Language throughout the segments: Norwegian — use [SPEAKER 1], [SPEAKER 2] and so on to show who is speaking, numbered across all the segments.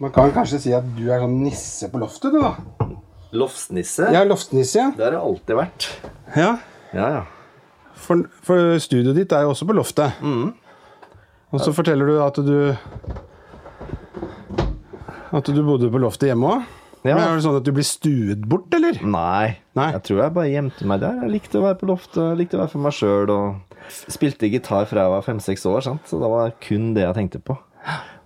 [SPEAKER 1] Man kan kanskje si at du er sånn nisse på loftet, du, da.
[SPEAKER 2] Lofsnisse.
[SPEAKER 1] Ja, loftnisse,
[SPEAKER 2] Det har jeg alltid vært.
[SPEAKER 1] ja. ja.
[SPEAKER 2] Ja, ja.
[SPEAKER 1] For, for studioet ditt er jo også på loftet. Og så forteller du at du At du bodde på loftet hjemme òg.
[SPEAKER 2] Ja.
[SPEAKER 1] Er det sånn at du blir stuet bort, eller?
[SPEAKER 2] Nei.
[SPEAKER 1] Nei.
[SPEAKER 2] Jeg tror jeg bare gjemte meg der. Jeg likte å være på loftet, jeg likte å være for meg sjøl. Og spilte gitar fra jeg var fem-seks år, sant? så det var kun det jeg tenkte på.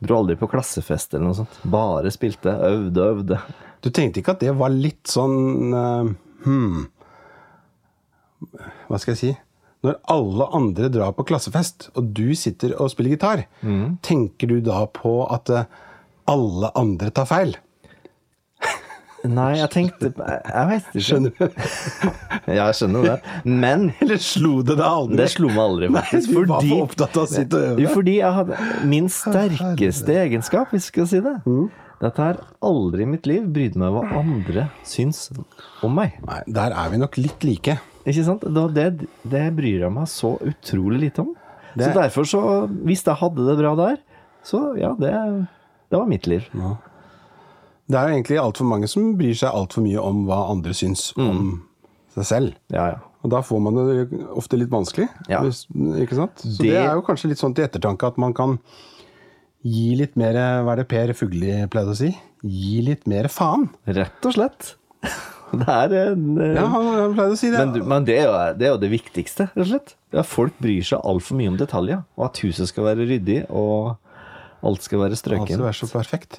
[SPEAKER 2] Dro aldri på klassefest eller noe sånt. Bare spilte. Øvde, øvde.
[SPEAKER 1] Du tenkte ikke at det var litt sånn eh, hmm, Hva skal jeg si? Når alle andre drar på klassefest, og du sitter og spiller gitar, tenker du da på at eh, alle andre tar feil?
[SPEAKER 2] Nei, jeg tenkte Jeg vet ikke.
[SPEAKER 1] Skjønner du?
[SPEAKER 2] Ja, jeg skjønner det. Men
[SPEAKER 1] Eller slo det deg aldri?
[SPEAKER 2] det slo meg aldri, faktisk.
[SPEAKER 1] Nei, du var
[SPEAKER 2] fordi-
[SPEAKER 1] for opptatt av å sitte og øve.
[SPEAKER 2] Jo, fordi jeg hadde min sterkeste egenskap, hvis jeg skal si det.
[SPEAKER 1] Mm.
[SPEAKER 2] Dette har aldri i mitt liv brydd meg hva andre syns om meg.
[SPEAKER 1] Nei, der er vi nok litt like.
[SPEAKER 2] Ikke sant? Da, det, det bryr jeg meg så utrolig lite om. Så
[SPEAKER 1] Det-
[SPEAKER 2] derfor så Hvis jeg hadde det bra der, så ja, det, det var mitt liv.
[SPEAKER 1] Det er jo egentlig altfor mange som bryr seg altfor mye om hva andre syns om seg selv.
[SPEAKER 2] Ja, ja.
[SPEAKER 1] Og da får man det jo ofte litt vanskelig.
[SPEAKER 2] Ja.
[SPEAKER 1] Hvis, ikke sant? Så det...
[SPEAKER 2] Det-
[SPEAKER 1] er jo kanskje litt sånn til ettertanke at man kan gi litt mer Hva er det Per Fugli pleide å si? Gi litt mer faen.
[SPEAKER 2] Rett og slett. Det er en eh,
[SPEAKER 1] Ja, han, han pleide å si det.
[SPEAKER 2] Men, du- men det, er jo, det er jo det viktigste, rett og slett. Ja, folk bryr seg altfor mye om detaljer. Og at huset skal være ryddig, og alt skal være strøket.
[SPEAKER 1] Altså, vær så perfekt.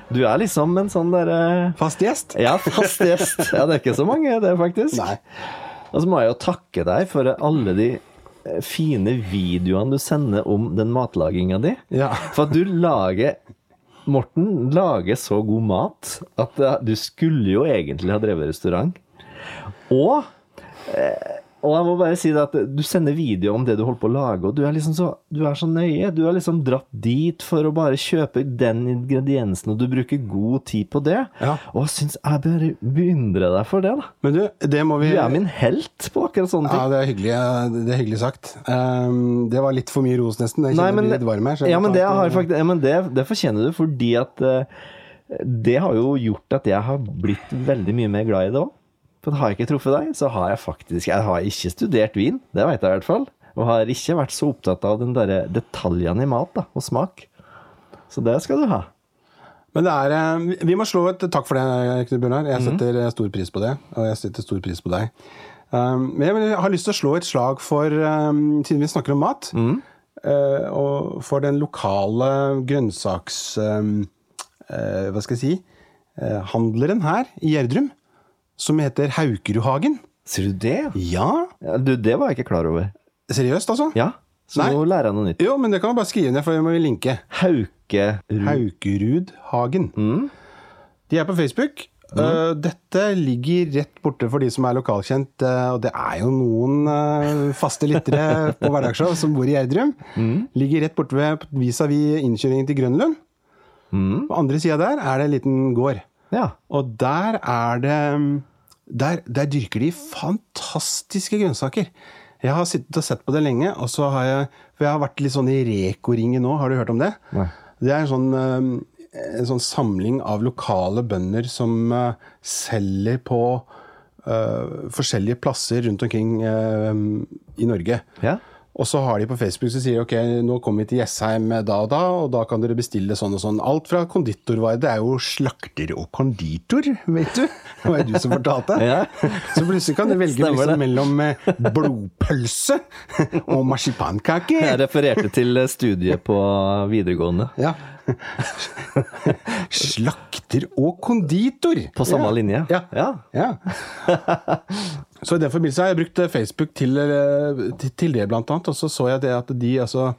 [SPEAKER 2] Du er liksom en sånn derre
[SPEAKER 1] fast gjest.
[SPEAKER 2] Ja, fast gjest. Ja, det er ikke så mange, det, faktisk.
[SPEAKER 1] Nei.
[SPEAKER 2] Og så må jeg jo takke deg for alle de eh, fine videoene du sender om den matlaginga di.
[SPEAKER 1] Ja.
[SPEAKER 2] For at du lager Morten lager så god mat at eh, du skulle jo egentlig ha drevet restaurant. Og eh, og jeg må bare si det at du sender video om det du holder på å lage, og du er liksom så, du er så nøye. Du har liksom dratt dit for å bare kjøpe den ingrediensen, og du bruker god tid på det.
[SPEAKER 1] Ja.
[SPEAKER 2] Og jeg syns jeg bør beundre deg for det, da.
[SPEAKER 1] Men du, det må vi
[SPEAKER 2] Du er min helt på akkurat sånne ting.
[SPEAKER 1] Ja, det er hyggelig, det er hyggelig sagt. Ehm, det var litt for mye ros, nesten. Jeg
[SPEAKER 2] Nei,
[SPEAKER 1] kjenner
[SPEAKER 2] men,
[SPEAKER 1] blir litt varm her. så jeg
[SPEAKER 2] ja, men,
[SPEAKER 1] tar
[SPEAKER 2] det,
[SPEAKER 1] ikke-
[SPEAKER 2] har faktisk, ja, men det, det fortjener du, fordi at eh, det har jo gjort at jeg har blitt veldig mye mer glad i det òg. For har jeg ikke truffet deg, så har jeg faktisk Jeg har ikke studert vin, det veit jeg i hvert fall. Og har ikke vært så opptatt av den derre detaljene i mat da, og smak. Så det skal du ha.
[SPEAKER 1] Men det er, eh, vi må slå et takk for det, Knut Bjørnar.
[SPEAKER 2] Mhm.
[SPEAKER 1] Jeg setter eh, stor pris på det, og jeg setter stor pris på deg. Ehm, men jeg vil- har lyst til å slå et slag for, ehm, siden vi snakker om mat,
[SPEAKER 2] Mhm.
[SPEAKER 1] eh, og for den lokale grønnsaks... ehm, eh, hva skal jeg si? eh, handleren her i Gjerdrum, som heter Haukerudhagen.
[SPEAKER 2] Ser du det?
[SPEAKER 1] Ja,
[SPEAKER 2] Ja, du, det var jeg ikke klar over.
[SPEAKER 1] seriøst altså?
[SPEAKER 2] Ja, så
[SPEAKER 1] Nei.
[SPEAKER 2] nå lærer jeg noe nytt.
[SPEAKER 1] Jo, men det kan man bare skrive ned, for det må vi linke.
[SPEAKER 2] Haukerud
[SPEAKER 1] Haukerudhagen. De er på Facebook. Eh, dette ligger rett borte for de som er lokalkjent, eh, og det er jo noen eh, faste lyttere på Hverdagsshow som bor i Gjerdrum. Ligger rett borte ved vis-à-vis innkjøringen til Grønlund. På andre sida der er det en liten gård.
[SPEAKER 2] Ja.
[SPEAKER 1] Og der er det mm, der, der dyrker de fantastiske grønnsaker. Jeg har sittet og sett på det lenge, og så har jeg, for jeg har vært litt sånn i Reko-ringen nå. Har du hørt om det?
[SPEAKER 2] Nei.
[SPEAKER 1] Det er en sånn, eh, en sånn samling av lokale bønder som eh, selger på eh, forskjellige plasser rundt omkring eh, i Norge.
[SPEAKER 2] ja.
[SPEAKER 1] Og så har de på Facebook så sier de, ok, nå kommer vi til Jessheim da og da, og da kan dere bestille sånn og sånn. Alt fra konditorvarer. Det er jo slakter og konditor, vet du. Det var jo du som fortalte.
[SPEAKER 2] Ja.
[SPEAKER 1] Så plutselig kan du velge
[SPEAKER 2] Stemmer det.
[SPEAKER 1] liksom mellom eh, blodpølse og marsipankake.
[SPEAKER 2] Jeg refererte til eh, studiet på videregående.
[SPEAKER 1] Ja. Slakter og konditor.
[SPEAKER 2] På samme
[SPEAKER 1] ja.
[SPEAKER 2] linje?
[SPEAKER 1] Ja.
[SPEAKER 2] Ja.
[SPEAKER 1] Ja. så i den forbindelse har jeg brukt eh, Facebook til, eh, til- til det, blant annet. Og så så jeg det at de altså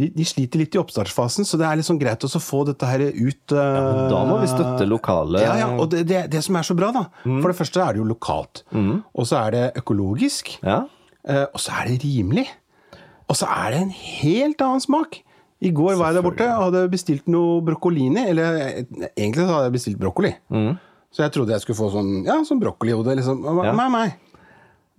[SPEAKER 1] de, de sliter litt i oppstartsfasen, så det er litt sånn greit også å få dette her ut. eh,
[SPEAKER 2] men da må vi støtte Mm. lokale-
[SPEAKER 1] Ja, ja, og det, det, det som er så bra, da. For det første er det jo lokalt.
[SPEAKER 2] Mm.
[SPEAKER 1] Og så er det økologisk.
[SPEAKER 2] Ja.
[SPEAKER 1] Eh, og så er det rimelig. Og så er det en helt annen smak. I går var jeg der borte og hadde bestilt noe brokkolini. Eller eh, egentlig så hadde jeg bestilt brokkoli. Så jeg trodde jeg skulle få sånn, ja, sånn brokkolihode. Liksom.
[SPEAKER 2] Ja.
[SPEAKER 1] Nei, nei.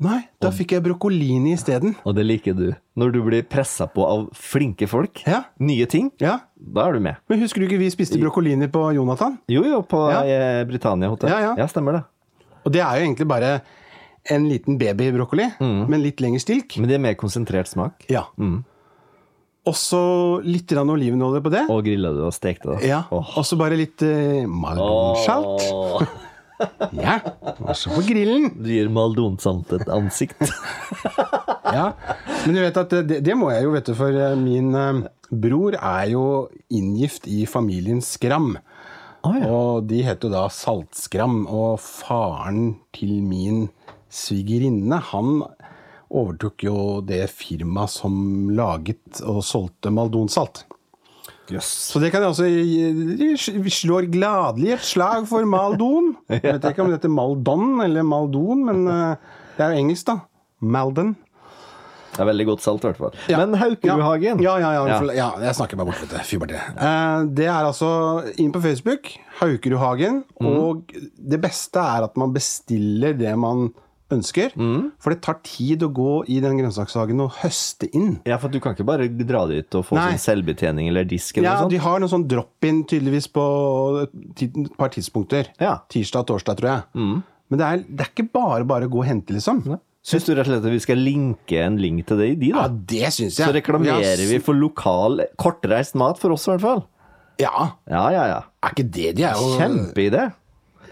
[SPEAKER 1] Nei, da fikk jeg brokkolini isteden.
[SPEAKER 2] Og det liker du. Når du blir pressa på av flinke folk,
[SPEAKER 1] Ja.
[SPEAKER 2] nye ting,
[SPEAKER 1] Ja.
[SPEAKER 2] da er du med.
[SPEAKER 1] Men husker du ikke vi spiste brokkolini på Jonathan?
[SPEAKER 2] Jo, jo, på
[SPEAKER 1] Ja.
[SPEAKER 2] eh, Britannia hotell.
[SPEAKER 1] Ja, ja.
[SPEAKER 2] stemmer det.
[SPEAKER 1] Og det er jo egentlig bare en liten babybrokkoli, men litt lengre stilk.
[SPEAKER 2] Men det er mer konsentrert smak.
[SPEAKER 1] Ja. Og så litt grann olivenolje på det.
[SPEAKER 2] Og grilla du og stekte det.
[SPEAKER 1] Ja.
[SPEAKER 2] Åh.
[SPEAKER 1] Og så bare litt eh, maldonsalt.
[SPEAKER 2] Åh.
[SPEAKER 1] Ja. Og så på grillen.
[SPEAKER 2] Du gir maldonsamt et ansikt.
[SPEAKER 1] Ja. Men du vet at eh, det, det må jeg jo vite, for eh, min eh, bror er jo inngift i familien Skram.
[SPEAKER 2] Å, ja.
[SPEAKER 1] Og de heter jo da Saltskram. Og faren til min svigerinne, han overtok jo det firmaet som laget og solgte maldonsalt. Så det kan jeg også Vi slår gladelig et slag for Maldon. Jeg vet ikke om det heter Maldon eller Maldon, men eh, det er jo engelsk, da. Maldon.
[SPEAKER 2] Det er veldig godt salt, i hvert fall.
[SPEAKER 1] Ja.
[SPEAKER 2] Men Haukeluhagen
[SPEAKER 1] Ja, ja, ja,
[SPEAKER 2] Ja.
[SPEAKER 1] unnskyld. ja. Jeg snakker meg bort, vet du. Fy bare det. Eh, Det er altså inn på Facebook, Haukerudhagen, og det beste er at man bestiller det man ønsker. For det tar tid å gå i den grønnsakshagen og høste inn.
[SPEAKER 2] Ja, for du kan ikke bare dra dit og få
[SPEAKER 1] Nei.
[SPEAKER 2] sånn selvbetjening eller disk eller
[SPEAKER 1] Ja,
[SPEAKER 2] noe sånt?
[SPEAKER 1] de har noe sånn drop-in tydeligvis på ti- et par tidspunkter.
[SPEAKER 2] Ja. Mm.
[SPEAKER 1] Tirsdag og torsdag, tror jeg. Men det er, det er ikke bare bare å gå og hente, liksom.
[SPEAKER 2] Syns du rett og slett at vi skal linke en link til det i de,
[SPEAKER 1] Ja,
[SPEAKER 2] da?
[SPEAKER 1] det syns jeg.
[SPEAKER 2] Så reklamerer
[SPEAKER 1] Ja, s-
[SPEAKER 2] vi for lokal, kortreist mat for oss, i hvert fall.
[SPEAKER 1] Ja,
[SPEAKER 2] Ja, ja, ja.
[SPEAKER 1] er ikke det de er jo
[SPEAKER 2] Kjempeidé.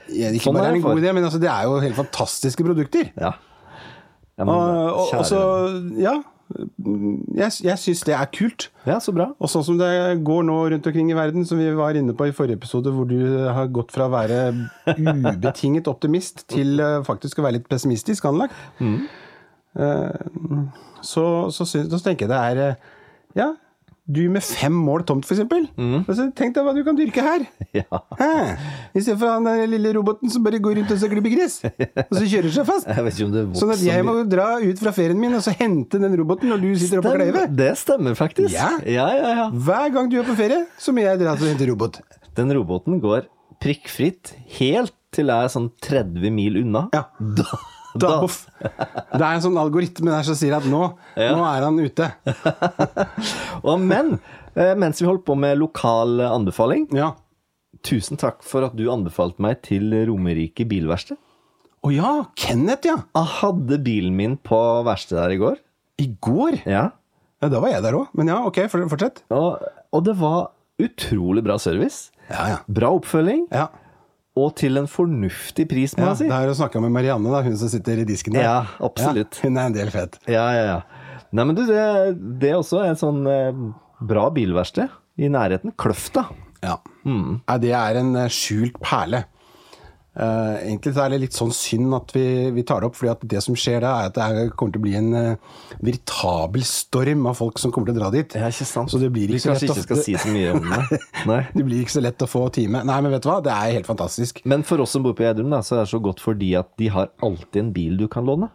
[SPEAKER 1] Ja, Ikke
[SPEAKER 2] Sånn
[SPEAKER 1] bare
[SPEAKER 2] er
[SPEAKER 1] er det
[SPEAKER 2] det
[SPEAKER 1] en god
[SPEAKER 2] for-
[SPEAKER 1] idé, men altså, det er jo helt fantastiske produkter.
[SPEAKER 2] Ja. Ja, men, eh,
[SPEAKER 1] Og, og,
[SPEAKER 2] kjære
[SPEAKER 1] og så,
[SPEAKER 2] venn.
[SPEAKER 1] ja Jeg, jeg syns det er kult.
[SPEAKER 2] Ja, så bra.
[SPEAKER 1] Og sånn som det går nå rundt omkring i verden, som vi var inne på i forrige episode, hvor du har gått fra å være ubetinget optimist til eh, faktisk å være litt pessimistisk anlagt, Eh, så, så, syns- så tenker jeg det er eh, Ja, du med fem mål tomt, for eksempel. Altså, tenk deg hva du kan dyrke her!
[SPEAKER 2] Ja.
[SPEAKER 1] Hæ? Istedenfor han der lille roboten som bare går rundt og så klipper gris, og så kjører seg fast.
[SPEAKER 2] Jeg vet ikke om det
[SPEAKER 1] Sånn at
[SPEAKER 2] vokser
[SPEAKER 1] jeg
[SPEAKER 2] mye.
[SPEAKER 1] må dra ut fra ferien min og så hente den roboten når du sitter oppe på
[SPEAKER 2] Stemmer.
[SPEAKER 1] kleivet.
[SPEAKER 2] Det stemmer faktisk.
[SPEAKER 1] Ja.
[SPEAKER 2] ja, ja. ja.
[SPEAKER 1] Hver gang du er på ferie, så må jeg dra til å hente robot.
[SPEAKER 2] Den roboten går prikkfritt helt til jeg er sånn 30 mil unna.
[SPEAKER 1] Ja.
[SPEAKER 2] Da,
[SPEAKER 1] Da, poff. Det er en sånn algoritme der som sier at nå, nå er han ute.
[SPEAKER 2] Og, men eh, mens vi holdt på med lokal eh, anbefaling,
[SPEAKER 1] Ja.
[SPEAKER 2] tusen takk for at du anbefalte meg til Romerike bilverksted.
[SPEAKER 1] Å ja, Kenneth, ja.
[SPEAKER 2] Jeg hadde bilen min på verkstedet der i går.
[SPEAKER 1] I går.
[SPEAKER 2] Ja.
[SPEAKER 1] Ja, Da var jeg der òg. Men ja, ok, for- fortsett.
[SPEAKER 2] Og, og det var utrolig bra service.
[SPEAKER 1] Ja, ja.
[SPEAKER 2] Bra oppfølging,
[SPEAKER 1] Ja,
[SPEAKER 2] og til en fornuftig pris, må
[SPEAKER 1] ja
[SPEAKER 2] jeg si.
[SPEAKER 1] Da har du snakka med Marianne, da, hun som sitter i disken der.
[SPEAKER 2] Ja, absolutt.
[SPEAKER 1] Ja, hun er en del fett.
[SPEAKER 2] Ja, ja, ja. Nei, men du, det, det er også en sånn eh, bra bilverksted i nærheten. Kløfta.
[SPEAKER 1] Ja.
[SPEAKER 2] Mm.
[SPEAKER 1] Nei, det er en eh, skjult perle. Eh, egentlig så er det litt sånn synd at vi, vi tar det opp, fordi at det som skjer da, er at det er- kommer til å bli en eh, veritabel storm av folk som kommer til å dra dit.
[SPEAKER 2] ikke sant.
[SPEAKER 1] Så det blir
[SPEAKER 2] Vi
[SPEAKER 1] ikke så
[SPEAKER 2] kanskje
[SPEAKER 1] lett
[SPEAKER 2] ikke
[SPEAKER 1] å-
[SPEAKER 2] skal si så mye om det. Nei.
[SPEAKER 1] Det blir ikke så lett å få time. Nei, men vet du hva? Det er helt fantastisk.
[SPEAKER 2] Men for oss som bor på Gjerdrum, da, så er det så godt fordi at de har alltid en bil du kan låne.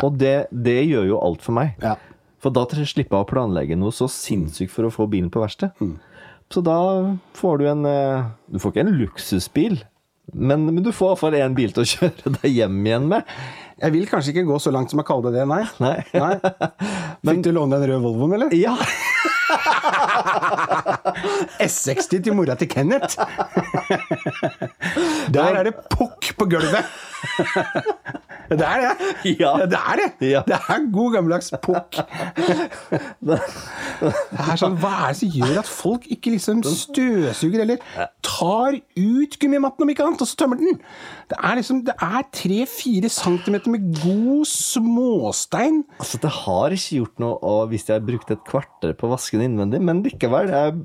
[SPEAKER 2] Og det, det gjør jo alt for meg.
[SPEAKER 1] Ja.
[SPEAKER 2] For da tre- slipper jeg å planlegge noe så sinnssykt for å få bilen på verksted.
[SPEAKER 1] Mm.
[SPEAKER 2] Så da får du en eh, Du får ikke en luksusbil, men, men du får iallfall én bil til å kjøre deg hjem igjen med.
[SPEAKER 1] Jeg vil kanskje ikke gå så langt som jeg kaller det det, nei.
[SPEAKER 2] Nei.
[SPEAKER 1] Fikk du låne den røde Volvoen, eller?
[SPEAKER 2] Ja,
[SPEAKER 1] S60 til mora til Kenneth! Der er det pukk på gulvet! Det er det.
[SPEAKER 2] Ja.
[SPEAKER 1] det er det.
[SPEAKER 2] Ja.
[SPEAKER 1] Det er god gammeldags pukk. Det er sånn, Hva er det som gjør at folk ikke liksom støvsuger eller tar ut gummimatten om ikke annet, og så tømmer den? Det er liksom, det er tre-fire centimeter med god småstein.
[SPEAKER 2] Altså, det har ikke gjort noe og hvis jeg har brukt et kvarter på å vaske den innvendig, men likevel, jeg er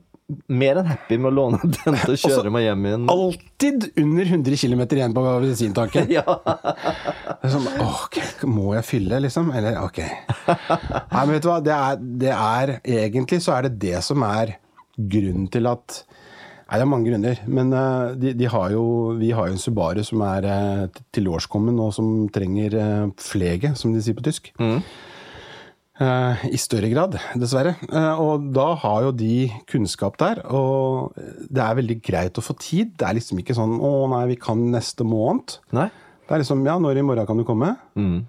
[SPEAKER 2] mer enn happy med å låne den til å kjøre meg hjem igjen.
[SPEAKER 1] Alltid under 100 km igjen på bensintanken.
[SPEAKER 2] Ja.
[SPEAKER 1] Det er sånn, åh, ok, Må jeg fylle, liksom? Eller ok. Nei, men vet du hva? Det er, det er, egentlig så er det det som er grunnen til at Nei, det er mange grunner. Men eh, de, de har jo, vi har jo en Subaru som er eh, t- tilårskommen og som trenger eh, flege, som de sier på tysk. Eh, I større grad, dessverre. Eh, og da har jo de kunnskap der, og det er veldig greit å få tid. Det er liksom ikke sånn 'Å nei, vi kan neste måned'.
[SPEAKER 2] Nei?
[SPEAKER 1] Det er liksom 'Ja, når i morgen kan du komme?'
[SPEAKER 2] Mm.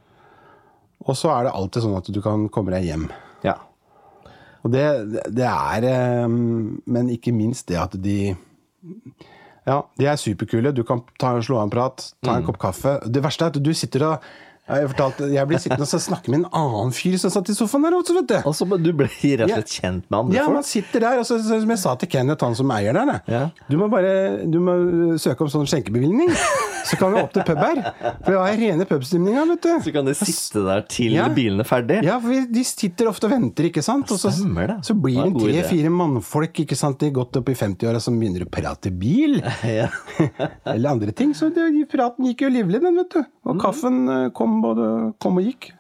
[SPEAKER 1] Og så er det alltid sånn at du kan komme deg hjem.
[SPEAKER 2] Ja.
[SPEAKER 1] Og det, det er eh, Men ikke minst det at de Ja, de er superkule. Du kan ta, slå av en prat, ta
[SPEAKER 2] Mm.
[SPEAKER 1] en kopp kaffe. Det verste er at du sitter og jeg, fortalte, jeg blir sittende og så snakke med en annen fyr som satt i sofaen der også, vet du.
[SPEAKER 2] Og så Altså, men du blir rett og slett kjent med andre
[SPEAKER 1] Ja, man
[SPEAKER 2] folk.
[SPEAKER 1] sitter der, og så, så, som jeg sa til Kenneth, han som eier der, da.
[SPEAKER 2] Ja.
[SPEAKER 1] du må bare du må søke om sånn skjenkebevilgning. Så kan vi opp til pub her. For det er rene pubstemninga, vet du.
[SPEAKER 2] Så kan de sitte der til
[SPEAKER 1] Ja.
[SPEAKER 2] bilen er ferdig.
[SPEAKER 1] Ja, for vi- de sitter ofte og venter, ikke sant? Og så,
[SPEAKER 2] Stemmer det.
[SPEAKER 1] så blir
[SPEAKER 2] Det var en
[SPEAKER 1] det
[SPEAKER 2] god idé.
[SPEAKER 1] tre-fire mannfolk ikke sant? De er godt opp i 50-åra som begynner å prate bil.
[SPEAKER 2] Ja.
[SPEAKER 1] Eller andre ting. Så det, praten gikk jo livlig, den, vet du.
[SPEAKER 2] Mm.
[SPEAKER 1] Og kaffen eh, kom, både, kom og gikk.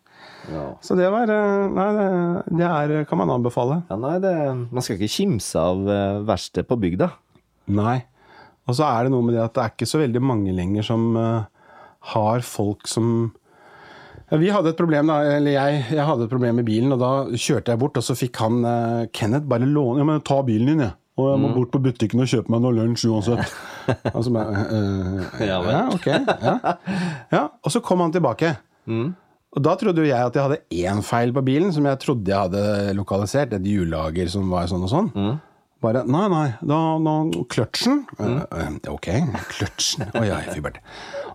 [SPEAKER 2] Ja.
[SPEAKER 1] Så det var eh, Nei, det, det er, kan man anbefale.
[SPEAKER 2] Ja, nei, det, man skal ikke kimse av eh, verkstedet på bygda.
[SPEAKER 1] Nei. Og så er det noe med det at det er ikke så veldig mange lenger som eh, har folk som Ja, vi hadde et problem da, eller jeg, jeg hadde et problem med bilen, og da kjørte jeg bort, og så fikk han eh, Kenneth bare låne Ja, men ta bilen din, jeg. Og jeg
[SPEAKER 2] Mm.
[SPEAKER 1] må bort på butikken og kjøpe meg noe lunsj uansett. Og så bare eh, eh,
[SPEAKER 2] Ja, vel.
[SPEAKER 1] Ja, ok. Ja. ja. Og så kom han tilbake.
[SPEAKER 2] Mm.
[SPEAKER 1] Og da trodde jo jeg at jeg hadde én feil på bilen, som jeg trodde jeg hadde lokalisert. Et hjullager som var sånn og sånn. Bare Nei, nei, da, da Kløtsjen? Eh, eh, ok, kløtsjen. Å ja, fybert.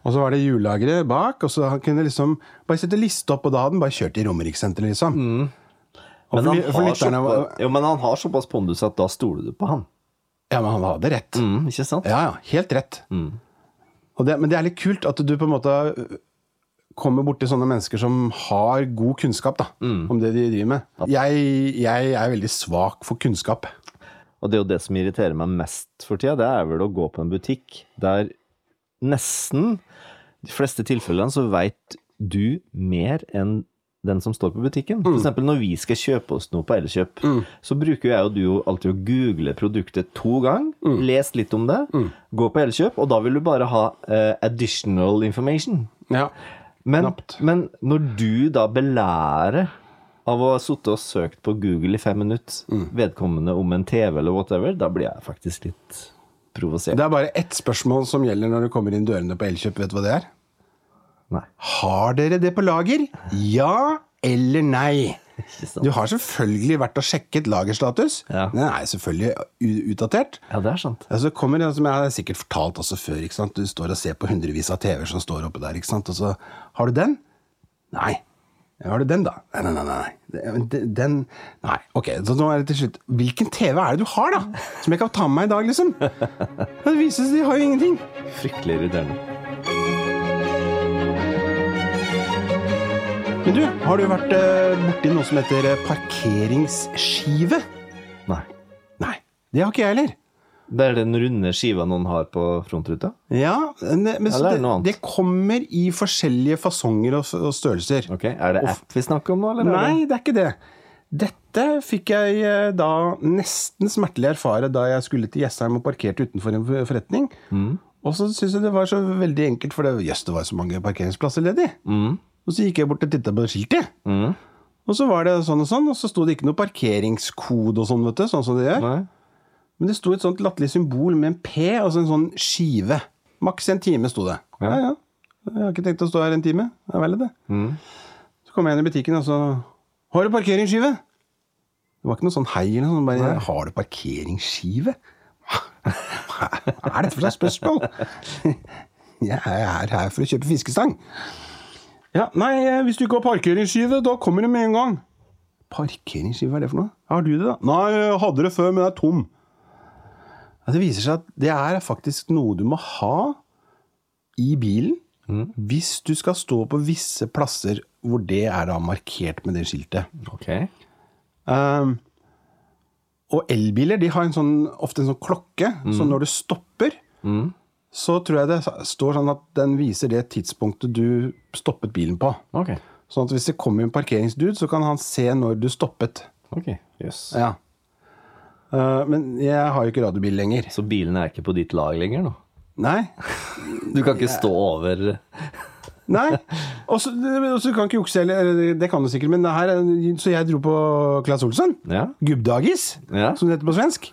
[SPEAKER 1] Og så var det hjullageret bak, og så han kunne liksom bare sette liste opp, og da hadde han bare kjørt i Romerikssenteret, liksom. Og
[SPEAKER 2] Men
[SPEAKER 1] for,
[SPEAKER 2] han,
[SPEAKER 1] ly- for
[SPEAKER 2] har
[SPEAKER 1] lytterne var,
[SPEAKER 2] såpass, jo, men han har såpass pondus at da stoler du på han.
[SPEAKER 1] Ja, men han hadde rett.
[SPEAKER 2] Mm, ikke sant?
[SPEAKER 1] Ja, ja. Helt rett. Og det, men det er litt kult at du på en måte kommer borti sånne mennesker som har god kunnskap da, om det de driver med. Jeg, jeg er veldig svak for kunnskap.
[SPEAKER 2] Og det er jo det som irriterer meg mest for tida, det er vel å gå på en butikk der nesten de fleste tilfellene så veit du mer enn den som står på butikken. For eksempel når vi skal kjøpe oss noe på Elkjøp, så bruker jo jeg og du jo alltid å google produktet to ganger, lest litt om det, gå på Elkjøp, og da vil du bare ha eh, additional information.
[SPEAKER 1] Ja.
[SPEAKER 2] Men,
[SPEAKER 1] Knapt.
[SPEAKER 2] men når du da belærer av å ha sittet og søkt på Google i fem minutter, vedkommende om en TV eller whatever, da blir jeg faktisk litt provosert.
[SPEAKER 1] Det er bare ett spørsmål som gjelder når du kommer inn dørene på Elkjøp. Vet du hva det er?
[SPEAKER 2] Nei,
[SPEAKER 1] Har dere det på lager? Ja eller nei?
[SPEAKER 2] ikke
[SPEAKER 1] Du
[SPEAKER 2] sant?
[SPEAKER 1] har selvfølgelig vært og sjekket lagerstatus.
[SPEAKER 2] Sånn. Ja.
[SPEAKER 1] Den er selvfølgelig u- utdatert.
[SPEAKER 2] Ja, det er sant.
[SPEAKER 1] Ja, så kommer det, som jeg har sikkert fortalt også før, ikke sant? du står og ser på hundrevis av TV-er som står oppe der, ikke sant? og så har du den? Nei. Ja, Har du den, da? Nei, nei, nei. nei. Det- det- Den Nei. Ok, så nå er det til slutt. Hvilken TV er det du har, da? Som jeg kan ta med meg i dag, liksom? Det vises, de har jo ingenting.
[SPEAKER 2] Fryktelig irriterende.
[SPEAKER 1] Men du, har du vært eh, borti noe som heter eh, parkeringsskive?
[SPEAKER 2] Nei.
[SPEAKER 1] Nei. Det har ikke jeg heller.
[SPEAKER 2] Det er den runde skiva noen har på frontruta?
[SPEAKER 1] Ja, ne- men så
[SPEAKER 2] Eller er det
[SPEAKER 1] det,
[SPEAKER 2] noe annet?
[SPEAKER 1] det kommer i forskjellige fasonger og, og størrelser.
[SPEAKER 2] Ok, Er det app vi snakker om nå, eller? er det-
[SPEAKER 1] Nei, det er ikke det. Dette fikk jeg eh, da nesten smertelig erfare da jeg skulle til Jessheim og parkerte utenfor en forretning.
[SPEAKER 2] Mm.
[SPEAKER 1] Og så syntes jeg det var så veldig enkelt, for det, jøss, det var så mange parkeringsplasser ledig.
[SPEAKER 2] Mm.
[SPEAKER 1] Og så gikk jeg bort og titta på skiltet. Og så var det sånn og sånn, og så sto det ikke noe parkeringskode og sånn, vet du. Sånn som det gjør.
[SPEAKER 2] Nei.
[SPEAKER 1] Men det sto et sånt latterlig symbol med en P, altså en sånn skive. Maks en time sto det. Ja. ja, Jeg har ikke tenkt å stå her en time. Det er vel det. Så kom jeg inn i butikken, og så Har du parkeringsskive? Det var ikke noe sånn hei eller noe sånt. Bare Har du parkeringsskive? Hva hva er dette for slags spørsmål? Jeg er her for å kjøpe fiskestang. Ja, nei, eh, hvis du ikke har parkeringsskive, da kommer det med en gang. Parkeringsskive, hva er det for noe? Har du det, da? Nei, jeg hadde det før, men det er tom. Ja, det viser seg at det er faktisk noe du må ha i bilen hvis du skal stå på visse plasser hvor det er da markert med det skiltet.
[SPEAKER 2] Ok.
[SPEAKER 1] Ehm, og elbiler de har en sånn, ofte en sånn klokke, så når du stopper, så tror jeg det står sånn at den viser det tidspunktet du stoppet bilen på.
[SPEAKER 2] Ok.
[SPEAKER 1] Sånn at hvis det kommer en parkeringsdude, så kan han se når du stoppet.
[SPEAKER 2] Ok, jøss.
[SPEAKER 1] Ja. Eh, men jeg har jo ikke radiobil lenger.
[SPEAKER 2] Så bilen er ikke på ditt lag lenger nå?
[SPEAKER 1] Nei.
[SPEAKER 2] Du kan ikke stå over
[SPEAKER 1] Nei. Og så og så kan ikke jukse heller. eller Det kan du sikkert, men det her er- Så jeg dro på Claes Olsson.
[SPEAKER 2] Ja.
[SPEAKER 1] Gubbdagis,
[SPEAKER 2] Ja.
[SPEAKER 1] som det heter på svensk.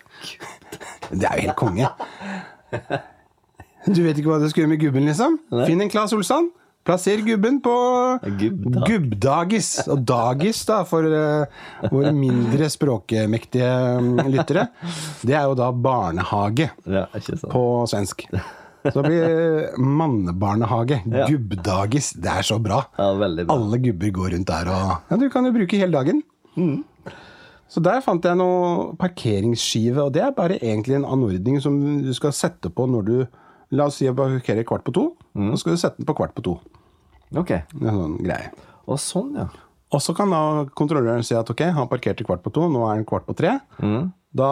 [SPEAKER 1] Det er jo helt konge. Du vet ikke hva du skal gjøre med gubben, liksom?
[SPEAKER 2] Nei.
[SPEAKER 1] Finn en Claes Olsson. Plasser gubben på
[SPEAKER 2] Gubbdag.
[SPEAKER 1] gubbdagis. Og dagis, da, for eh, våre mindre språkmektige mm, lyttere. Det er jo da barnehage
[SPEAKER 2] Ja, ikke sant.
[SPEAKER 1] på svensk. Så det blir mannebarnehage.
[SPEAKER 2] Ja.
[SPEAKER 1] Gubbdagis. Det er så bra.
[SPEAKER 2] Ja, veldig bra.
[SPEAKER 1] Alle gubber går rundt der og Ja, du kan jo bruke hele dagen. Så der fant jeg noe parkeringsskive, og det er bare egentlig en anordning som du skal sette på når du La oss si jeg parkerer kvart på to, så skal du sette den på kvart på to.
[SPEAKER 2] Ok.
[SPEAKER 1] Det er En sånn greie.
[SPEAKER 2] Og sånn, ja.
[SPEAKER 1] Og så kan da kontrolløren si at ok, han parkerte kvart på to, nå er han kvart på tre. Da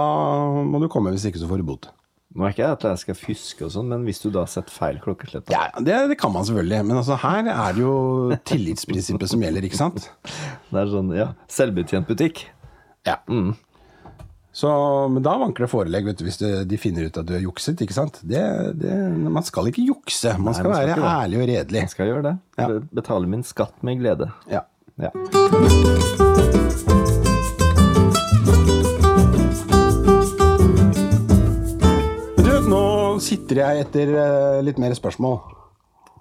[SPEAKER 1] må du komme, hvis ikke så får du bot.
[SPEAKER 2] Nå er ikke jeg at jeg skal fyske og sånn, men hvis du da setter feil klokkeslett da.
[SPEAKER 1] Ja, det, det kan man selvfølgelig, men altså her er det jo tillitsprinsippet som gjelder, ikke sant?
[SPEAKER 2] Det er sånn, ja. Selvbetjent butikk.
[SPEAKER 1] Ja.
[SPEAKER 2] Mm.
[SPEAKER 1] Så, men da vanker det forelegg vet du, hvis det, de finner ut at du har jukset. ikke sant? Det, det, man skal ikke jukse. Man skal,
[SPEAKER 2] man skal
[SPEAKER 1] være
[SPEAKER 2] ikke det.
[SPEAKER 1] ærlig og redelig.
[SPEAKER 2] Jeg skal gjøre det.
[SPEAKER 1] Ja.
[SPEAKER 2] Be- Betale min skatt med glede.
[SPEAKER 1] Ja.
[SPEAKER 2] Ja.
[SPEAKER 1] Men du, nå sitter jeg etter eh, litt mer spørsmål.